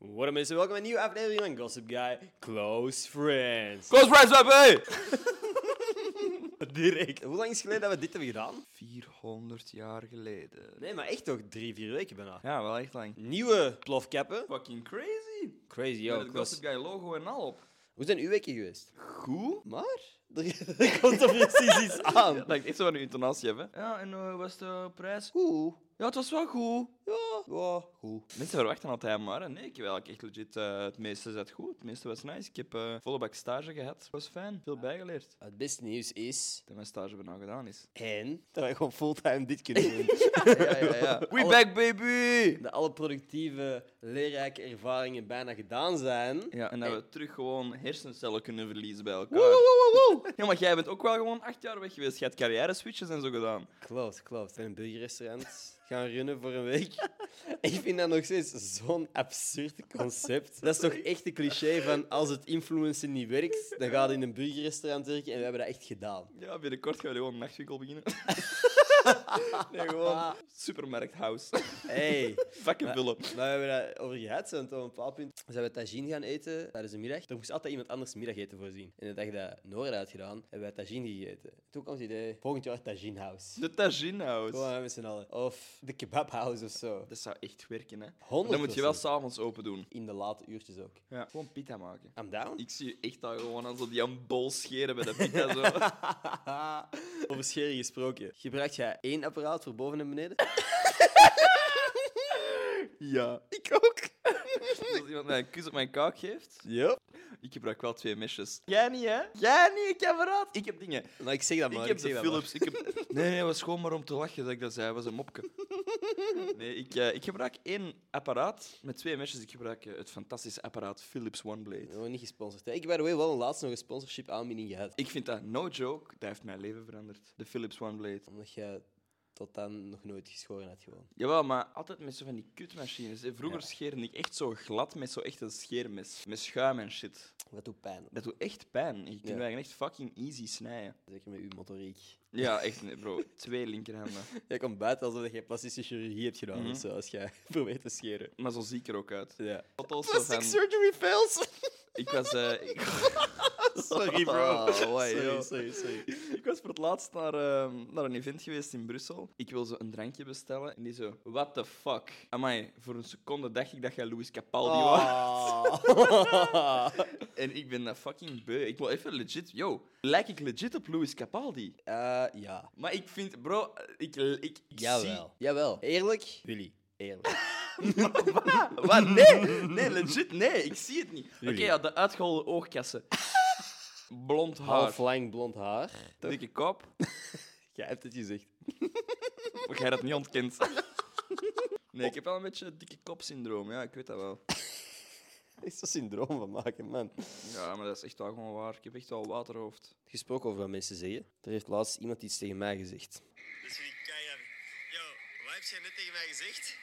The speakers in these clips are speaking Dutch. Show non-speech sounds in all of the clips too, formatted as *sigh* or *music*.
What up mensen, welkom bij een nieuwe aflevering van Gossip Guy Close Friends. Close friends up, hey! Direct. Hoe lang is het geleden dat we dit hebben gedaan? 400 jaar geleden. Nee, maar echt toch drie, vier weken bijna. Ja, wel echt lang. Nieuwe plofkappen. Fucking crazy. Crazy, Yo, yo. Met het ik was- Gossip Guy logo en al op. Hoe zijn uw weken geweest? Goed, maar *laughs* er, er komt toch precies iets aan. Dat ik echt zo van uw intonatie heb, hè. Ja, en eh, was de prijs goed? Goed. Ja, het was wel goed. Ja, ja, goed. Mensen verwachten altijd maar, hè. nee, ik heb eigenlijk echt legit eh, het meeste zat goed, het meeste was nice. Ik heb eh, volle bak stage gehad, was fijn, veel bijgeleerd. Het beste nieuws is... Dat mijn stage bijna gedaan is. En... Dat wij gewoon fulltime dit kunnen doen. Ja, ja, ja. *laughs* We back, baby! Dat alle productieve, leerrijke ervaringen bijna gedaan zijn. Ja, en dat we terug gewoon hersencellen kunnen verliezen bij elkaar. Woe, woe, woe, woe. Ja, maar jij bent ook wel gewoon acht jaar weg geweest. Je hebt carrière switches en zo gedaan. Klopt, klopt. Ik ben in een burgerrestaurant gaan runnen voor een week. *laughs* ik vind dat nog steeds zo'n absurd concept. Dat is toch echt een cliché van als het influencer niet werkt, dan gaat het in een burgerrestaurant werken en we hebben dat echt gedaan. Ja, binnenkort gaan we gewoon een nachtwinkel beginnen. *laughs* nee, gewoon supermarkthouse. *laughs* Hey. *laughs* Fucking vullen. Maar we hebben dat over gehad, want op een bepaald punt zijn we tagine gaan eten tijdens de middag. Er moest altijd iemand anders middageten voorzien. En de dag dat Nora dat had gedaan, hebben we tagine gegeten. Toen kwam het idee, volgend jaar tagine house. De tagine house. Gewoon met z'n allen. Of de kebab house of zo. Dat zou echt werken, hè. 100%. Dan moet je wel s'avonds open doen. In de late uurtjes ook. Ja. Gewoon pita maken. I'm down. Ik zie je echt daar gewoon aan zo die aan bol scheren bij de pita. Zo. Over scheren gesproken. Gebruik jij één apparaat voor boven en beneden? *laughs* ja. Ik ook. *laughs* Als iemand mij een kus op mijn kaak geeft, Ja. ik gebruik wel twee mesjes. Jij niet, hè? Jij niet, kameraad. Ik heb dingen. Maar ik zeg dat maar. Ik heb zeg de dat maar. Philips. Ik heb... *laughs* Nee, nee, was gewoon maar om te lachen dat ik dat zei. was een *laughs* mopke. Nee, ik, eh, ik gebruik één apparaat met twee mesjes. Ik gebruik eh, het fantastische apparaat Philips We OneBlade. worden niet gesponsord. hè. Ik heb by the way wel een laatste nog een sponsorship aanbieding gehad. Ik vind dat, no joke, dat heeft mijn leven veranderd. De Philips OneBlade. Omdat jij tot dan nog nooit geschoren had gewoon. Jawel, maar altijd met zo van die kutmachines. hè. Vroeger scheerde ik echt zo glad met zo echt een scheermes. Met schuim en shit. Dat doet pijn. Dat doet echt pijn. Je kunt Ja. eigenlijk echt fucking easy snijden. Zeker met uw motoriek. Ja, echt, nee, bro. Twee linkerhanden. Jij komt buiten alsof jij plastische chirurgie hebt gedaan Mhm. of zo, als jij *laughs* probeert te scheren. *laughs* Maar zo zie ik er ook uit. Ja. Foto's zo Plastic van- surgery fails! Ik was... eh, ik- *laughs* sorry, bro. Oh, wai, joh. sorry, sorry, sorry. Ik was voor het laatst naar, ehm, naar een event geweest in Brussel. Ik wil zo een drankje bestellen. En die zo, what the fuck? Amai, voor een seconde dacht ik dat jij Louis Capaldi was. Ah. En ik ben dat fucking beu. Ik wil even legit... Yo, lijk ik legit op Louis Capaldi? *laughs* Eh, ja. Maar ik vind... Bro, ik, ik, ik Jawel. Jawel. Eerlijk? Willy. Eerlijk. zie... Wat? Wat? Nee, nee, legit nee. Ik zie het niet. Oké, Jullie. ja, de uitgeholde oogkassen. Blond haar. Half lang blond haar. Dikke kop. Jij hebt het gezegd. *laughs* Maar jij dat niet *laughs* ontkent. Nee, ik heb wel een beetje dikke kopsyndroom. Ja, ik weet dat wel. Er is zo'n syndroom van maken, man. Ja, maar dat is echt wel gewoon waar. Ik heb echt wel waterhoofd. Gesproken over wat mensen zeggen. Er heeft laatst iemand iets tegen mij gezegd. Dus vind ik keihard. Yo, wat heb jij net tegen mij gezegd?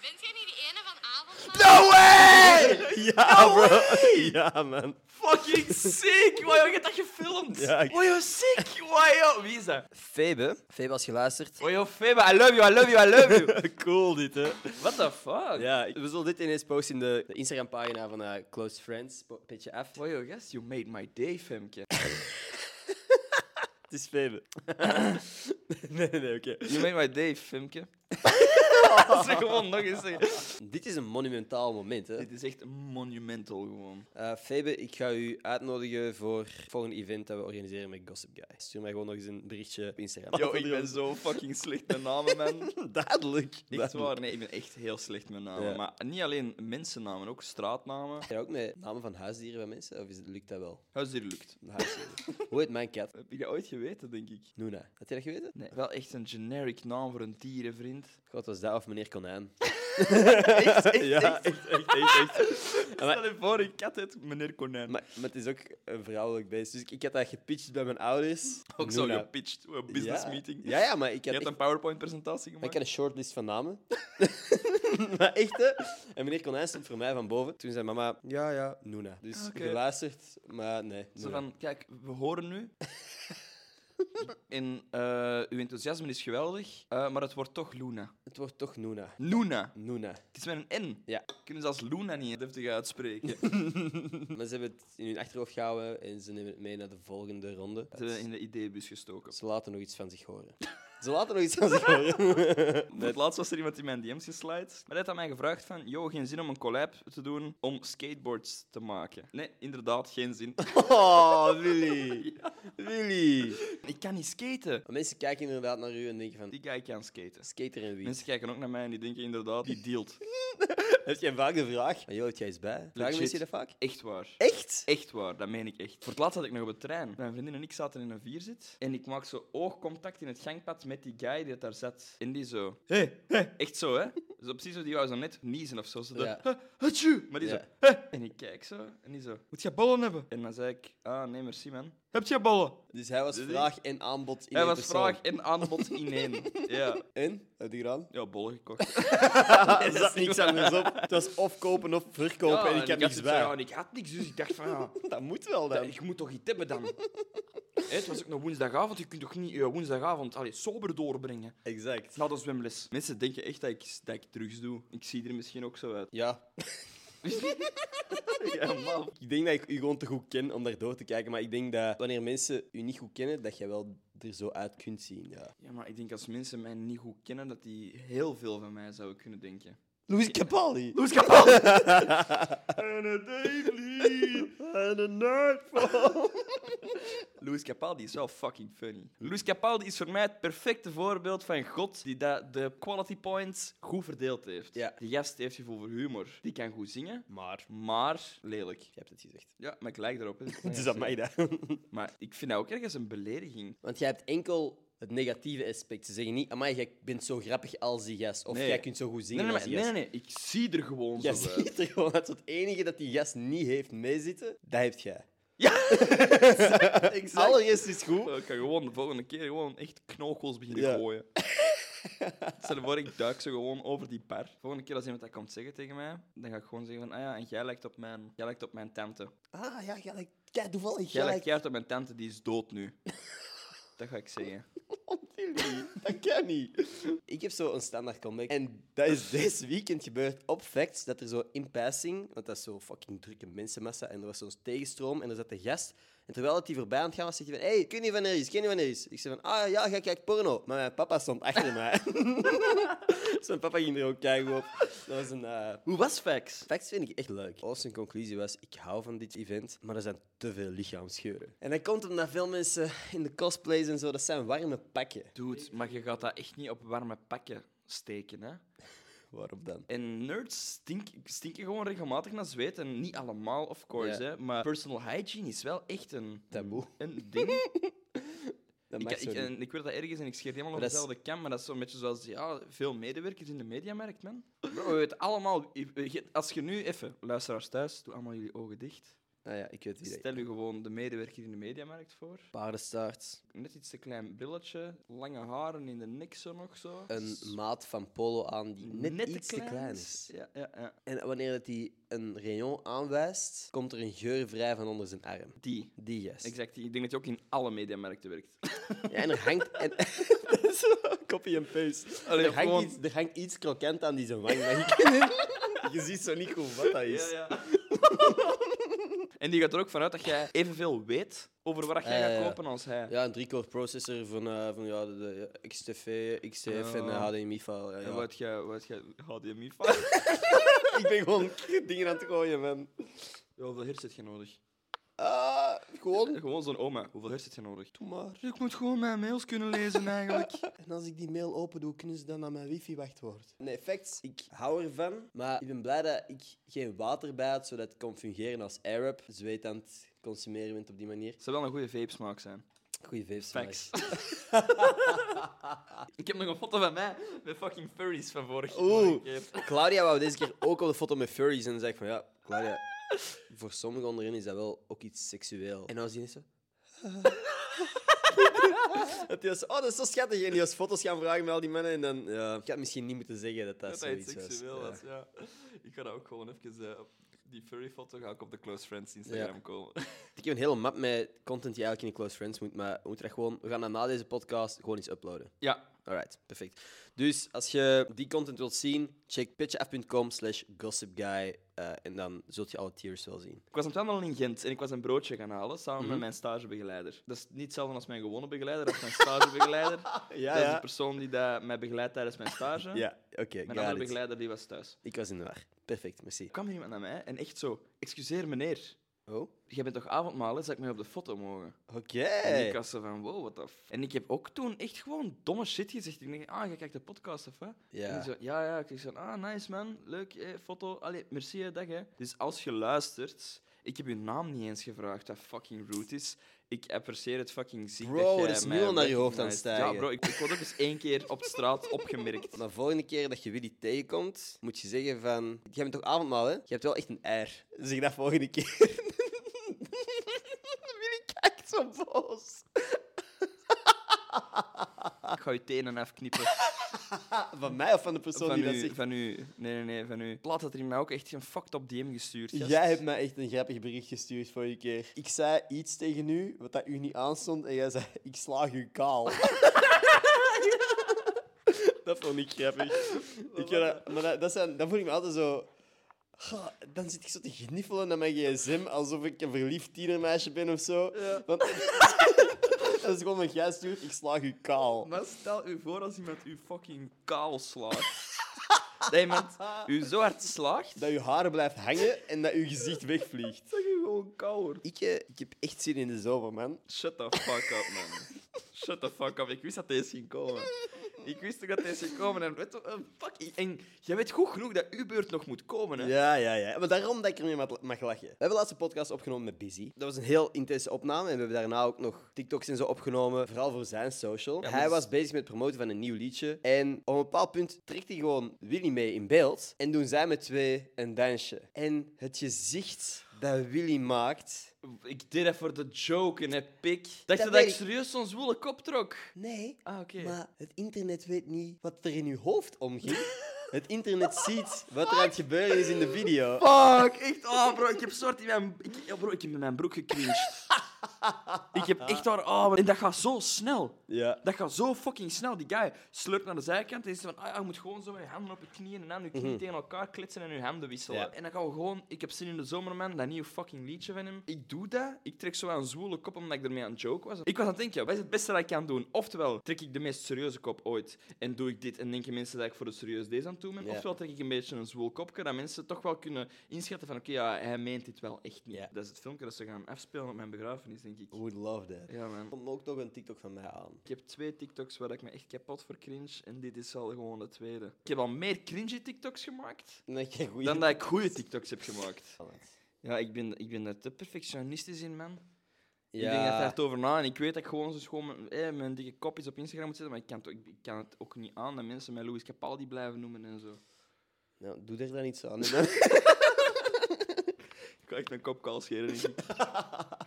Bent jij niet die ene van avondmaal? No way! *laughs* Ja, bro. *laughs* Ja, man. Fucking sick! Wow, je hebt dat gefilmd! Ja, ik- Wow, yo, sick! Wow, yo. Wie is dat? Febe. Febe, als je luistert. Wow, yo, Febe, I love you, I love you, I love you! *laughs* cool, dit, hè. What the fuck? Ja, ik- we zullen dit ineens posten in de, de Instagram-pagina van eh, Close Friends. Po- Petje af. Wow, yo, yes, you made my day, Femke. Het is Febe. *laughs* nee, nee, nee, oké. You made my *laughs* day, Femke. Dat is gewoon nog eens zeggen. Dit is een monumentaal moment, hè. Dit is echt monumental, gewoon. Eh, Febe, ik ga u uitnodigen voor het volgende event dat we organiseren met Gossip Guy. Stuur mij gewoon nog eens een berichtje op Instagram. Yo, ik ben zo fucking slecht met namen, man. *laughs* duidelijk. Echt waar, nee, ik ben echt heel slecht met namen. Ja. Maar niet alleen mensennamen, ook straatnamen. Heb je ook met namen van huisdieren bij mensen? Of is het, lukt dat wel? Huisdier lukt. Een huisdier. *laughs* Hoe heet mijn kat? Heb je dat ooit geweten, denk ik? Noona. Had je dat geweten? Nee, wel echt een generic naam voor een dierenvriend. God, was dat of meneer *laughs* Konijn? Echt, echt, ja, echt. *laughs* echt, echt, echt. *laughs* echt. Stel je voor, een kat heet meneer Konijn. Maar, maar het is ook een vrouwelijk beest. Dus ik, ik had dat gepitcht bij mijn ouders. ook zo Noona. gepitcht, een business Ja. meeting. Ja, ja, maar ik Je had, hebt echt- een PowerPoint-presentatie Maar ik gemaakt. had een shortlist van *laughs* namen. maar echt, hè? En meneer Konijn stond voor mij van boven. Toen zei mama, ja, ja, Noona. Dus Ah, oké. geluisterd, maar nee. Zo Noona. *laughs* van, kijk, we horen nu. En eh, uw enthousiasme is geweldig, eh, maar het wordt toch Luna. Het wordt toch Nuna. Luna. *laughs* Nuna. Het is met een N. Ja. Kunnen ze als Luna niet deftig uitspreken. Maar ze hebben het in hun achterhoofd gehouden en ze nemen het mee naar de volgende ronde. Ze hebben in de ideebus gestoken. Ze laten nog iets van zich horen. Ze laten nog iets van zich *laughs* horen. Voor Het laatst was er iemand in mijn DM's geslide. Maar hij had aan mij gevraagd van... Yo, geen zin om een collab te doen om skateboards te maken. Nee, inderdaad, geen zin. Oh, Willy. Willy. ik kan niet skaten. Maar mensen kijken inderdaad naar u en denken van, Die guy kan skaten. skater en wie? Mensen kijken ook naar mij en die denken inderdaad, die dealt. Heb jij vaak de vraag? Maar joh, heb jij eens bij? Vragen Legit. mensen je dat vaak? Echt waar. Echt? Echt waar, dat meen ik echt. Voor het laatst zat ik nog op de trein. Mijn vriendin en ik zaten in een vierzit. En ik maak zo oogcontact in het gangpad met die guy die daar zat. En die zo... Hé, hé. Echt zo, hè. Zo precies zo, die wou zo net niezen of zo. Zo dat... Ja. "Huh, hatsjoe." Maar die Ja. zo... "Hè." En ik kijk zo. En die zo... Moet je bollen hebben? En dan zei ik... Ah, nee, merci, man. Heb je bollen? Dus hij was Dus ik- vraag en aanbod in Hij één was persoon. vraag en aanbod in *laughs* één. Ja. En? Heb je gedaan? Ja, bollen *laughs* gekocht. Er zat niks anders op. Het was of kopen of verkopen Ja, en ik heb niks het bij. zo, ja, en ik had niks, dus ik dacht van... Ja, Dat moet wel Ja, dan. ik moet toch iets hebben *laughs* dan? Hé, het was ook nog woensdagavond. Je kunt toch niet je woensdagavond allee, sober doorbrengen? Exact. Na de zwemles. Mensen denken echt dat ik, dat ik drugs doe. Ik zie er misschien ook zo uit. Ja. Ja, man. Ik denk dat ik u gewoon te goed ken om daar door te kijken, maar ik denk dat wanneer mensen u niet goed kennen, dat jij wel er zo uit kunt zien. Ja. Ja, maar ik denk als mensen mij niet goed kennen, dat die heel veel van mij zouden kunnen denken. Louis *laughs* Capaldi. Louis Capal! En een nightfall. *laughs* Louis Capaldi is wel fucking funny. Louis Capaldi is voor mij het perfecte voorbeeld van God die dat de quality points goed verdeeld heeft. Ja. Die gast heeft gevoel voor humor. Die kan goed zingen, Maar, maar lelijk. je hebt het gezegd. Ja, maar ik lijk *laughs* erop. hè. Het is aan mij dan. Maar ik vind dat ook ergens een belediging. *laughs* Want jij hebt enkel het negatieve aspect. Ze zeggen niet, amai, jij bent zo grappig als die gast. Of Nee. jij kunt zo goed Nee, zingen nee, als maar- die nee, gast. nee, nee, ik zie er gewoon Jij zo uit. ziet er gewoon uit. Het enige dat die gast niet heeft meezitten, dat heeft jij. Ja, *laughs* Exact. Alle rest is goed. Ik kan gewoon de volgende keer gewoon echt knokels beginnen Ja. *laughs* gooien. Stel je voor, ik duik zo gewoon over die bar. Volgende keer als iemand dat komt zeggen tegen mij, dan ga ik gewoon zeggen van, ah ja, en jij lijkt op mijn, jij lijkt op mijn tante. Ah, ja, jij lijkt... Kijk, toevallig, Jij jij lijkt lijkt... keihard op mijn tante, die is dood *laughs* nu. Dat ga ik zeggen. Dat kan niet. Ik heb zo een standaard comeback. En dat is deze weekend gebeurd op Facts. Dat er zo in passing, want dat is zo fucking drukke mensenmassa. En er was zo'n tegenstroom en er zat de gast. En terwijl dat die voorbij aan het gaan was, zegt hij van... Hé, hey, ik weet niet wanneer is, ik weet niet wanneer is. Ik zei van... Ah ja, jij kijkt porno. Maar mijn papa stond achter mij. *laughs* Zijn papa ging er ook kijken op. Dat was een... eh, Hoe was Fax? Facts vind ik echt leuk. Als zijn conclusie was, ik hou van dit event, maar er zijn te veel lichaamsgeuren. En dat komt omdat veel mensen in de cosplays en zo, dat zijn warme pakken. Dude, maar je gaat dat echt niet op warme pakken steken, hè? Waarop dan? En nerds stink, stinken gewoon regelmatig naar zweet. En niet allemaal, of course. Ja. Hè, maar personal hygiene is wel echt een, Taboe. een *laughs* ding. Dat ik, mag zo ik, niet. en ik weet dat ergens en ik scheer helemaal op Maar dat is- dezelfde kam. Maar dat is zo'n beetje zoals ja, veel medewerkers in de mediamarkt, man. Bro, we weten allemaal... je- Als je nu even... Luisteraars thuis, doe allemaal jullie ogen dicht. Ah ja, ik weet het niet. Stel je gewoon de medewerker in de mediamarkt voor. Paardenstaart, Net iets te klein brilletje. Lange haren in de nek zo nog zo. een maat van polo aan die net, te iets te klein is. Ja, ja, ja. En wanneer dat hij een rayon aanwijst, komt er een geur vrij van onder zijn arm. Die. Die gast. Exact. Ik denk dat je ook in alle mediamarkten werkt. Ja, en er *laughs* hangt... En... Copy and paste. Allee, er, hangt gewoon- iets, er hangt iets krokant aan die zijn wang, maar je, *laughs* *laughs* je ziet zo niet goed wat dat is. Ja, ja. *laughs* en die gaat er ook vanuit dat jij evenveel weet over wat jij Ja, gaat ja. kopen als hij. Ja, een drie-core processor van, eh, van ja, de, de XTV, XTF en Ja. HDMI-file. Ja, Oh. En ja. wat jij, wat jij *laughs* HDMI van? *laughs* Ik ben gewoon *laughs* dingen aan het gooien, man. Ja, hoeveel hertz heb je nodig? Ah, gewoon. Eh, Gewoon zo'n oma. Hoeveel hertz heb je nodig? Doe maar. Ik moet gewoon mijn mails kunnen lezen *laughs* eigenlijk. En als ik die mail open doe, kunnen ze dan naar mijn wifi-wachtwoord. Nee, facts. Ik hou ervan, maar ik ben blij dat ik geen water bij had, zodat het kon fungeren als Arab. Zweet aan het consumeren bent op die manier. Het zou wel een goede vape-smaak zijn. Goeie vapes. Facts. ik heb nog een foto van mij met fucking furries van *laughs* vorige Oeh. keer. Claudia wou deze keer ook op de foto met furries. En dan zei ik van ja, Claudia, voor sommigen onderin is dat wel ook iets seksueel. En dan was die net zo. *laughs* Het was, oh, dat is zo schattig. En die was foto's gaan vragen met al die mannen. En dan, ja, ik had misschien niet moeten zeggen dat dat, Dat hij zoiets iets seksueel was. was, ja. Ik ga dat ook gewoon even eh, Die furry foto ga ik op de Close Friends Instagram Ja. komen. Ik heb een hele map met content die eigenlijk in de close friends moet, maar we moeten dat gewoon... We gaan dat na deze podcast gewoon eens uploaden. Ja, Alright, perfect. Dus als je die content wilt zien, check pitchaf.com slash gossipguy eh, en dan zult je alle tiers wel zien. ik was aan het wandelen in Gent en ik was een broodje gaan halen samen Mhm. met mijn stagebegeleider. Dat is niet hetzelfde als mijn gewone begeleider of mijn stagebegeleider. *laughs* Ja, dat is de persoon die dat mij begeleidt tijdens mijn stage. *laughs* Ja, oké, Mijn got andere it. begeleider die was thuis. Ik was in de war. Perfect, merci. Er kwam iemand naar mij en echt zo, excuseer meneer, Oh, jij bent toch avondmalen, zou ik mij op de foto mogen? oké. En ik was zo van, wow, what the f... En ik heb ook toen echt gewoon domme shit gezegd. Ik denk, ah, jij kijkt de podcast of wat? En die Ja. zo, ja, ja. Ik zeg zo, ah, nice man, leuk, eh, foto. Allee, merci, hè, dag hè. Dus als je luistert, ik heb je naam niet eens gevraagd, dat fucking rude is. Ik apprecieer het fucking ziek Bro, dat jij er is nu mij al naar je hoofd aan het recognized. stijgen. Ja, bro, ik, ik word ook eens één keer op straat opgemerkt. Maar de volgende keer dat je Willy tegenkomt, moet je zeggen van... Jij bent toch avondmaal, hè? Je hebt wel echt een eier. Zeg dat volgende keer. *laughs* Willy kijkt zo boos. Ik ga je tenen *laughs* afknippen. Van mij of van de persoon Van die dat u, zegt? van u. Nee, nee, nee, van u. Plat had er mij ook echt een fucked op DM gestuurd. gast. Jij hebt mij echt een grappig bericht gestuurd vorige keer. Ik zei iets tegen u, wat dat u niet aanstond, en jij zei, ik slaag u kaal. *laughs* dat vond ik *laughs* grappig. Ik, heb dat, maar dat, dat, zijn, dat voel ik me altijd zo... Goh, dan zit ik zo te gniffelen naar mijn gsm, alsof ik een verliefd tienermeisje ben of zo. Want, *laughs* dat is gewoon wat jij stuurt, ik slaag u kaal. Maar stel u voor als iemand u fucking kaal slaagt. *laughs* dat iemand u zo hard slaagt, Dat uw haar blijft hangen en dat uw gezicht wegvliegt. dat je gewoon kaal wordt. Ik, eh, ik heb echt zin in de zomer, man. Shut the fuck up, man. Shut the fuck up. Ik wist dat deze ging komen. Ik wist ook dat deze ging komen. En, weet je, eh, fuck, en jij weet goed genoeg dat uw beurt nog moet komen, hè? Ja, ja, ja. Maar daarom dat ik ermee mag- mag lachen. We hebben de laatste podcast opgenomen met Busy. Dat was een heel intense opname. En we hebben daarna ook nog TikToks en zo opgenomen. Vooral voor zijn social. maar hij dat is- was bezig met het promoten van een nieuw liedje. En op een bepaald punt trekt hij gewoon Willy mee in beeld. En doen zij met twee een dansje. En het gezicht dat Willy maakt. Ik deed dat voor de joke, hè, pik. Dacht je Dat dat ik weet ik. serieus zo'n zwoele kop trok? Nee. Ah, oké. Maar het internet weet niet wat er in uw hoofd omging. *laughs* Het internet ziet wat er aan het gebeuren is in de video. Fuck, echt. Oh, bro, ik heb soort in mijn... Ik, ja, bro, ik heb in mijn broek gecringed. ik heb echt waar... Oh, maar- en dat gaat zo snel. Ja. Dat gaat zo fucking snel. Die guy slurpt naar de zijkant en is van... Ah, ja, je moet gewoon zo met je handen op je knieën en dan je knieën tegen elkaar klitsen en je handen wisselen. Mhm. Ja. En dan gaan we gewoon... Ik heb zin in de zomerman, dat nieuwe fucking liedje van hem. Ik doe dat. Ik trek zo aan een zwoele kop omdat ik ermee aan het joke was. Ik was aan het denken, wat is het beste dat ik kan doen? Oftewel trek ik de meest serieuze kop ooit en doe ik dit en denken mensen dat ik voor de serieus deze aan het doen ben. Ja. Oftewel trek ik een beetje een zwoel kopje dat mensen toch wel kunnen inschatten van... Oké, ja, hij meent dit wel echt niet. Ja. Dat is het filmpje dat ze gaan afspelen op mijn begrafenis, denk ik. Would love that. Ja, man. komt ook toch een TikTok van mij aan. Ik heb twee TikToks waar ik me echt kapot voor cringe. En dit is al gewoon de tweede. Ik heb al meer cringy TikToks *laughs* gemaakt Dan heb je een goeie- dan dat ik goede TikToks heb gemaakt. Ja, ik ben, ik ben daar te perfectionistisch in, man. Ik denk dat daar hard over na. En ik weet dat ik gewoon zo schoon mijn, eh, mijn dikke kopjes op Instagram moet zetten. Maar ik kan, het ook- ik kan het ook niet aan dat mensen mij Louis Capaldi blijven noemen en zo. Nou, doe er dan iets aan. *laughs* Ik kan echt mijn kop kaal scheren, denk *laughs* ik.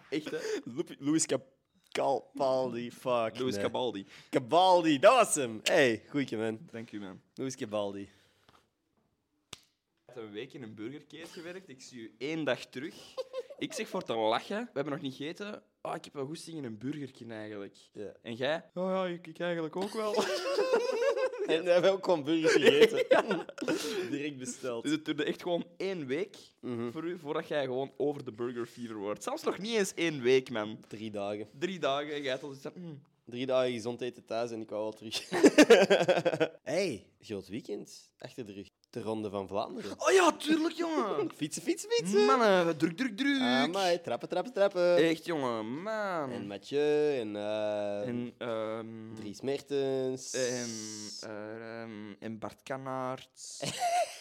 Echt, hè? Louis Capaldi, fuck. Louis Cabaldi. Cabaldi, dat was hem. Hey, goeie man. Dank u, man. Louis Cabaldi. Ik heb een week in een burgerkeet gewerkt. Ik zie u één dag terug. Ik zeg voor te lachen. We hebben nog niet gegeten. Oh, ik heb wel goesting in een burgerkin eigenlijk. Ja. En jij? Oh ja, ik, eigenlijk ook wel. En we hebben ook gewoon burgers *laughs* gegeten. Direct besteld. *laughs* *laughs* dus het duurde echt gewoon één week Mhm. voor u, voordat jij gewoon over de burger fever wordt. Zelfs nog niet eens één week, man. Drie dagen. Drie dagen en jij had al zoiets van... "Mm, Drie dagen gezond eten thuis en ik wou wel *laughs* terug. hey, groot weekend. Achter de rug. De Ronde van Vlaanderen. Oh ja, tuurlijk, *laughs* jongen. Fietsen, fietsen, fietsen. Mannen, druk, druk, druk. Amai, trappen, trappen, trappen. Echt, jongen, man. En Mathieu en... eh En, ehm, Dries Mertens. En, Ehm, eh, ehm, en Bart Kanaerts.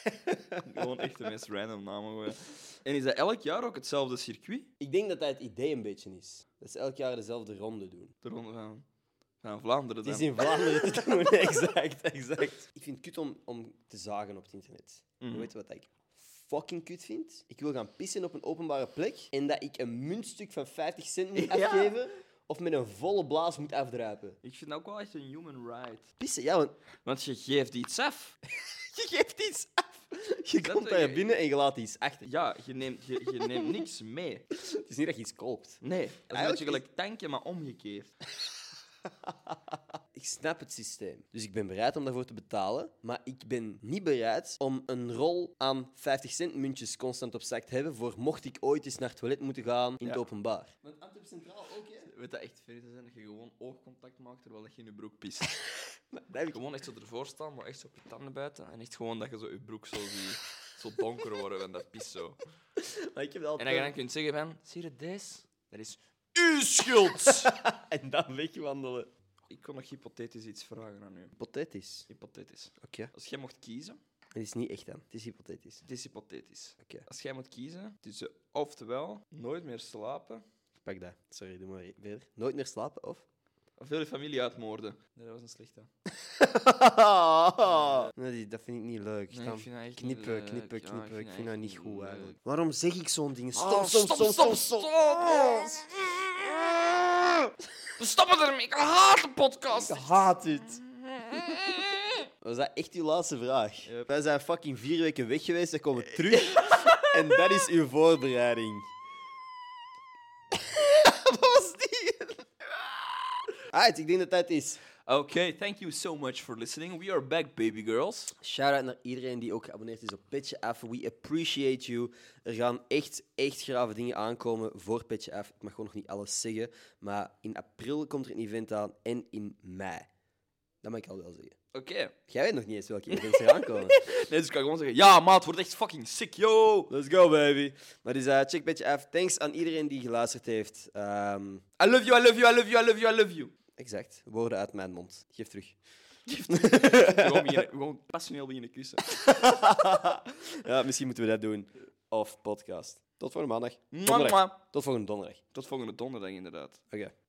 *laughs* Gewoon echt de meest random namen. gewoon. En is dat elk jaar ook hetzelfde circuit? Ik denk dat dat het idee een beetje is. Dat ze elk jaar dezelfde ronde doen. De Ronde van, van Vlaanderen Het is dan. in Vlaanderen *laughs* te doen, exact, exact. Ik vind het kut om, om te zagen op het internet. Mhm. Je weet wat ik fucking kut vind? Ik wil gaan pissen op een openbare plek en dat ik een muntstuk van 50 cent moet Ja. afgeven of met een volle blaas moet afdruipen. Ik vind dat ook wel echt een human right. Pissen, ja, want *laughs* Want je geeft iets af. je geeft iets af. Je komt daar je- binnen en je laat iets achter. Ja, je neemt, je, je neemt niks mee. Het is niet dat je iets koopt. Nee, dat is een Eigenlijk beetje is- gelijk tanken, maar omgekeerd. Ik snap het systeem. Dus ik ben bereid om daarvoor te betalen. Maar ik ben niet bereid om een rol aan 50 cent muntjes constant op zak te hebben. voor mocht ik ooit eens naar het toilet moeten gaan in Ja. het openbaar. Weet dat echt ver te zijn dat je gewoon oogcontact maakt terwijl je in je broek *laughs* pist? Dat heb ik Gewoon echt zo ervoor staan, maar echt zo op je tanden buiten. En echt gewoon dat je zo je broek zo ziet. Zo donker worden en dat pis zo. Maar ik heb En altijd... dat je dan kunt zeggen van, zie je deze? Dat is uw schuld! en dan wegwandelen. Ik kon nog hypothetisch iets vragen aan u. Hypothetisch. Hypothetisch. Oké. Als jij mocht kiezen, Het is niet echt dan. Het is hypothetisch. het is hypothetisch. Oké, Als jij moet kiezen tussen oftewel nooit meer slapen pak dat. Sorry, doe maar verder. Nooit meer slapen, *laughs* of? of heel je familie uitmoorden. Nee, dat was een slechte. Nee, dat vind ik niet leuk. Nee, Dan ik vind dat echt niet knippen, leuk. knippen, Ja, knippen. ik vind dat echt niet goed, leuk. eigenlijk. Waarom zeg ik zo'n ding? Stop, Ah, stop, stop, stop, stop. We stoppen ermee. Ik haat de podcast. Ik haat dit. *laughs* Was dat echt uw laatste vraag? Yep. Wij zijn fucking vier weken weg geweest, dan komen we terug. *laughs* en dat is uw voorbereiding. *laughs* Wat was die? Alright, ik denk dat dat is. Oké, thank you so much for listening. We are back, baby girls. Shout-out naar iedereen die ook geabonneerd is op Petje Af. We appreciate you. Er gaan echt, echt grave dingen aankomen voor Petje Af. Ik mag gewoon nog niet alles zeggen. Maar in april komt er een event aan en in mei. Dat mag ik al wel zeggen. Oké. Jij weet nog niet eens welke events er aankomen. *laughs* Nee, dus ik kan gewoon zeggen, ja maat, wordt echt fucking sick, yo. Let's go, baby. Maar dus eh, check Petje Af. Thanks aan iedereen die geluisterd heeft. Ehm, I love you, I love you, I love you, I love you, I love you. exact. Woorden uit mijn mond. Geef terug. Gewoon, beginnen, gewoon passioneel beginnen kussen. *laughs* Ja, misschien moeten we dat doen. Of podcast. Tot volgende maandag. Mwah, Donderdag. mwah. Tot volgende donderdag. Tot volgende donderdag inderdaad. Oké.